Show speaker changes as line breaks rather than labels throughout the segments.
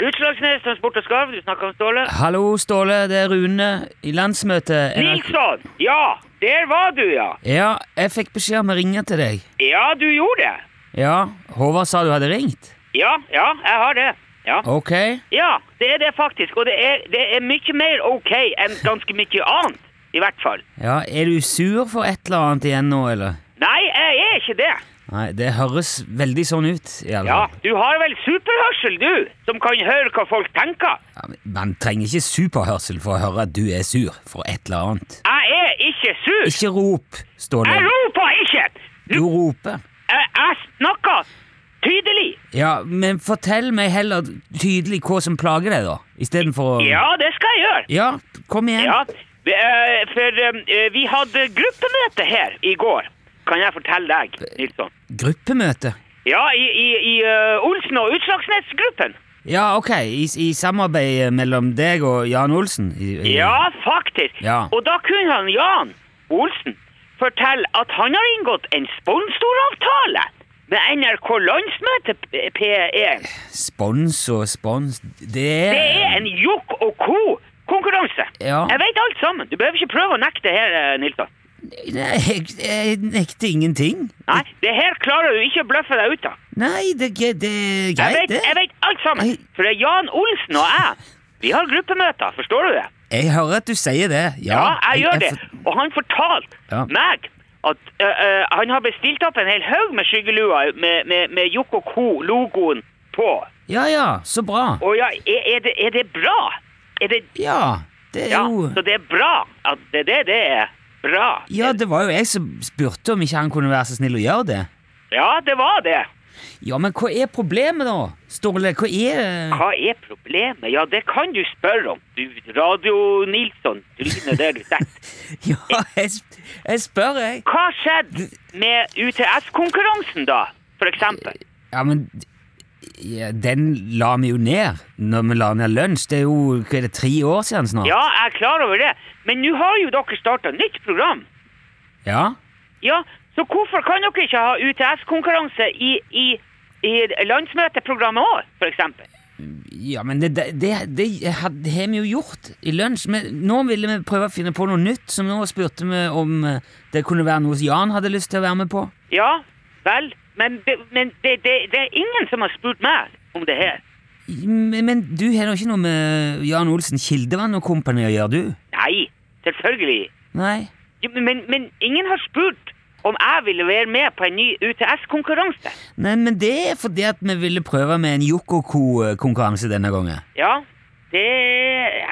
Utslagsnes Transport og Skarv, du snakker om Ståle.
Hallo, Ståle. Det er Rune i landsmøtet. NRK.
Nilsson! Ja, der var du, ja.
Ja, jeg fikk beskjed om å ringe til deg.
Ja, du gjorde det.
Ja, Håvard sa du hadde ringt.
Ja, ja, jeg har det. Ja.
Ok.
ja, det er det faktisk. Og det er, det er mye mer ok enn ganske mye annet. I hvert fall.
Ja, Er du sur for et eller annet igjen nå, eller?
Nei, jeg er ikke det.
Nei, det høres veldig sånn ut. i alle
Ja,
fall.
du har vel superhørsel, du, som kan høre hva folk tenker.
Ja, men Man trenger ikke superhørsel for å høre at du er sur for et eller annet.
Jeg er ikke sur.
Ikke rop, Ståle.
Jeg roper ikke!
Du roper.
Jeg, jeg snakker tydelig.
Ja, men fortell meg heller tydelig hva som plager deg, da. Istedenfor å
Ja, det skal jeg gjøre.
Ja, kom igjen.
Ja, vi, eh, for eh, vi hadde gruppemøte her i går, kan jeg fortelle deg, Nilsson.
Gruppemøte.
Ja, i, i, i eh, Olsen og Utslagsnes-gruppen.
Ja, ok. I, i samarbeid mellom deg og Jan Olsen? I, i,
Ja, faktisk.
Ja.
Og da kunne han Jan Olsen fortelle at han har inngått en sponsoravtale med NRK Landsmøte P- P1.
Spons og spons Det er,
Det er en jokk og ko-konkurranse.
Ja.
Jeg vet alt sammen. Du behøver ikke prøve å nekte her, eh, Nilsson.
Nei, jeg, jeg nekter ingenting.
Nei, det her klarer du ikke å bløffe deg ut av.
Nei, det, er ge- det er
Jeg
greit,
vet,
det.
jeg vet alt sammen.
Nei.
For det er Jan Olsen og jeg. Vi har gruppemøter, forstår du det?
Jeg hører at du sier det.
Ja,
Ja,
jeg gjør det.
for-
Og han fortalte
Ja.
meg at ø, ø, han har bestilt opp en hel haug med skyggelua med, med, med Jokk og Co-logoen på.
Ja, ja, så bra.
Og ja, er, er, det, er det bra? Er det,
Ja, det er
ja,
jo
så det er bra. At det, det, det er bra.
Ja, det var jo jeg som spurte om ikke han kunne være så snill å gjøre det.
Ja, det var det.
Ja, men hva er problemet, da? Ståle, hva er
Hva er problemet? Ja, det kan du spørre om. Du, Radio Nilsson, trynet der du sitter.
Ja, jeg, sp- jeg spør, jeg.
Hva skjedde med UTS-konkurransen, da? For eksempel.
Ja, men ja, den la vi jo ned når vi la ned lunsj. Det er jo hva er det, tre år siden snart.
Ja, jeg er klar over det. Men nå har jo dere starta nytt program.
Ja?
Ja, Så hvorfor kan dere ikke ha UTS-konkurranse i, i, i landsmøteprogrammet òg, f.eks.?
Ja, men det, det, det, det har det har vi jo gjort i lunsj. Men nå ville vi prøve å finne på noe nytt, som nå spurte vi om eh, det kunne være noe Jan hadde lyst til å være med på.
Ja, vel. Men, det, men det, det, det er ingen som har spurt meg om det her.
Men, men du har da ikke noe med Jan Olsen Kildevann og kompani å gjøre, du?
Nei, selvfølgelig.
Nei?
Jo, Men, men ingen har spurt om jeg ville være med på en ny UTS-konkurranse.
Nei, men det er fordi at vi ville prøve med en Yoko Co-konkurranse denne gangen.
Ja, det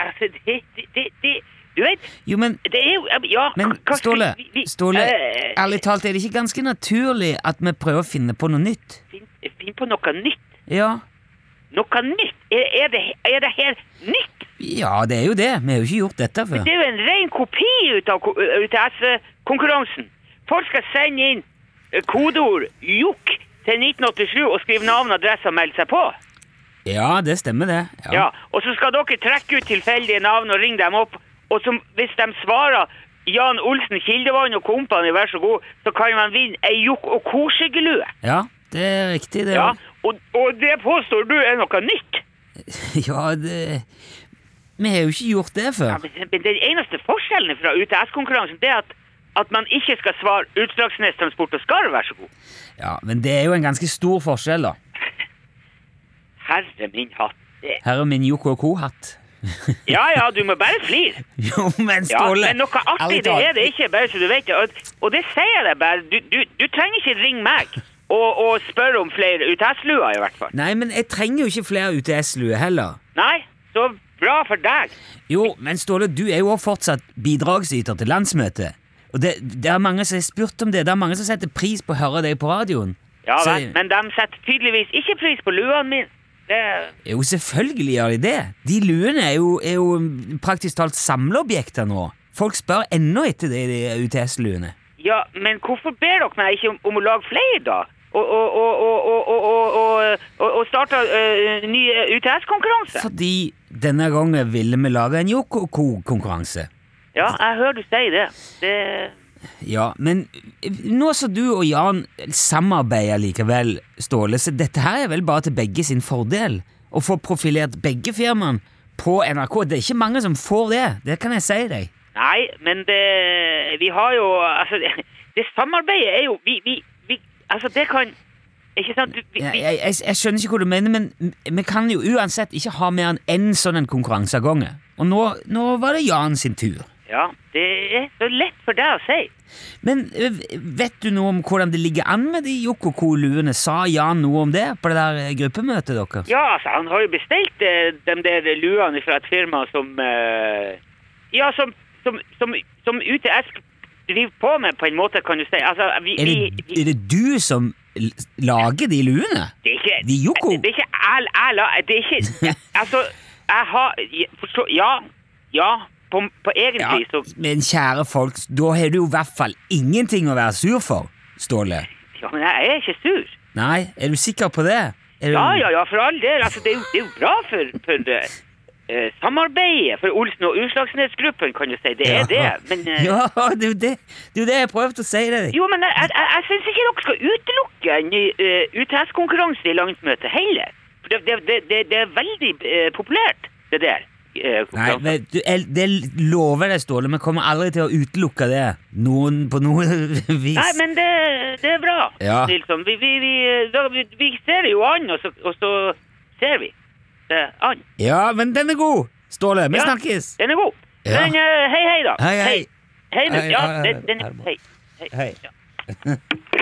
Altså, det, det, det, det Du vet,
Jo, men
det er jo Ja,
Men
hva skal
Ståle,
vi- vi-
Ståle
eh,
ærlig talt, er det ikke ganske naturlig at vi prøver å finne på noe nytt?
Finn, finn på noe nytt.
Ja,
Noe nytt? Er, er, det, er det her nytt?
ja det er jo det. Vi har jo ikke gjort dette før.
Det er jo en ren kopi ut av ko- UTS-konkurransen. Folk skal sende inn eh, kodeord 'jokk' til 1987 og skrive navn, adresse og melde seg på.
Ja, det stemmer det.
Ja, og så skal dere trekke ut tilfeldige navn og ringe dem opp. Og som, hvis de svarer Jan Olsen, Kildevann og kompani, vær så god, så kan man vinne ei jokk- og kosegelue.
Ja, det er riktig, det.
Ja,
også.
og, og det påstår du er noe nytt.
ja det Vi har jo ikke gjort det
Ja,
før.
men men den eneste forskjellen fra UTS-konkurransen det er at, at man ikke skal svare Utslagsnes Transport og Skarv, vær så god.
Ja, Men det er jo en ganske stor forskjell, da.
Herre min hatt. Det-
Her er min Yoko Co-hatt.
Ja ja, du må bare flire.
Jo, men
Ja,
Ståle
men noe artig
ærlig
det
talt.
er det ikke, bare så du vet det. Og, og det sier jeg deg bare. Du, du, du trenger ikke ringe meg og, og spørre om flere UTS-luer, i hvert fall.
Nei, men jeg trenger jo ikke flere UTS-luer heller.
Nei, så bra for deg.
Jo, men Ståle, du er jo også fortsatt bidragsyter til landsmøtet. Og det, det er mange som har spurt om det. Det er mange som setter pris på å høre deg på radioen.
Ja
Så-
vel, men de setter tydeligvis ikke pris på luene mine. Det,
Jo, selvfølgelig gjør de det. De luene er jo, er jo praktisk talt samleobjekter nå. Folk spør ennå etter de, de UTS-luene.
ja, men hvorfor ber dere meg ikke om, om å lage flere, da? Og, og, og, og, og, og, og, og, og, og starte øh, ny øh, UTS-konkurranse?
Fordi denne gangen ville vi lage en Yoko Co-konkurranse.
Ja, jeg hører du sier det. det.
Ja, men eh, nå som du og Jan samarbeider likevel, Ståle, så dette her er vel bare til begge sin fordel. å få profilert begge firmaene på NRK. Det er ikke mange som får det. Det kan jeg si deg.
Nei, men det Vi har jo Altså, det, det samarbeidet er jo Vi, vi, vi Altså, det kan Ikke sant? Du- Vi,
Jeg,
vi,
jeg, jeg skjønner ikke hva du mener, men vi kan jo uansett ikke ha mer enn én sånn en konkurranse av gangen. Og nå, nå var det Jan sin tur.
ja, det er så lett for deg å si.
Men ø, vet du noe om hvordan det ligger an med de Yoko Ko-luene? Sa Jan noe om det på det der ø, gruppemøtet deres?
Ja, altså, han har jo bestilt eh, de der luene fra et firma som eh, Ja, som, som, som, som UTS driver på med, på en måte, kan du si. Altså, vi,
Er
vi,
det,
vi
er det du som l- lager de luene?
Det er ikke
De Yoko?
Det er ikke jeg, jeg la Det er ikke Altså, jeg har jeg forstår- Ja. Ja. På, på
Ja,
egentlig så
men kjære folk, da har du jo i hvert fall ingenting å være sur for, Ståle.
Ja, men jeg er ikke sur.
Nei, er du sikker på det? Er du-
Ja, ja, ja, for all del. Altså, det, er jo, det er jo bra for, for eh, samarbeidet for Olsen og Utslagsnes-gruppen, kan du si. Det er det. Men eh,
Ja, det er jo det, det, er jo det jeg prøvde å si deg.
jo, men jeg, jeg, jeg- jeg syns ikke dere skal utelukke en ny eh, UTS-konkurranse i landsmøtet heller. For det, det, det, det, det er veldig eh, populært, det der. eh,
Nei,
konkurransen.
men du, jeg, det lover deg, Ståle. Vi kommer aldri til å utelukke det. Noen på noe vis.
Nei, men det, det er bra,
Ja.
Nilsson. Vi, vi, vi, eh, da, vi, vi ser det jo an, og så, og så ser vi det an.
Ja, men den er god, Ståle. Vi
Ja.
snakkes.
Den er god.
Ja.
Men eh, hei, hei, da.
Hei, hei.
Hei, hei, nå.
Hei,
ja,
hei,
den, den,
Herman.
hei. Hei.
Hei.
Ja.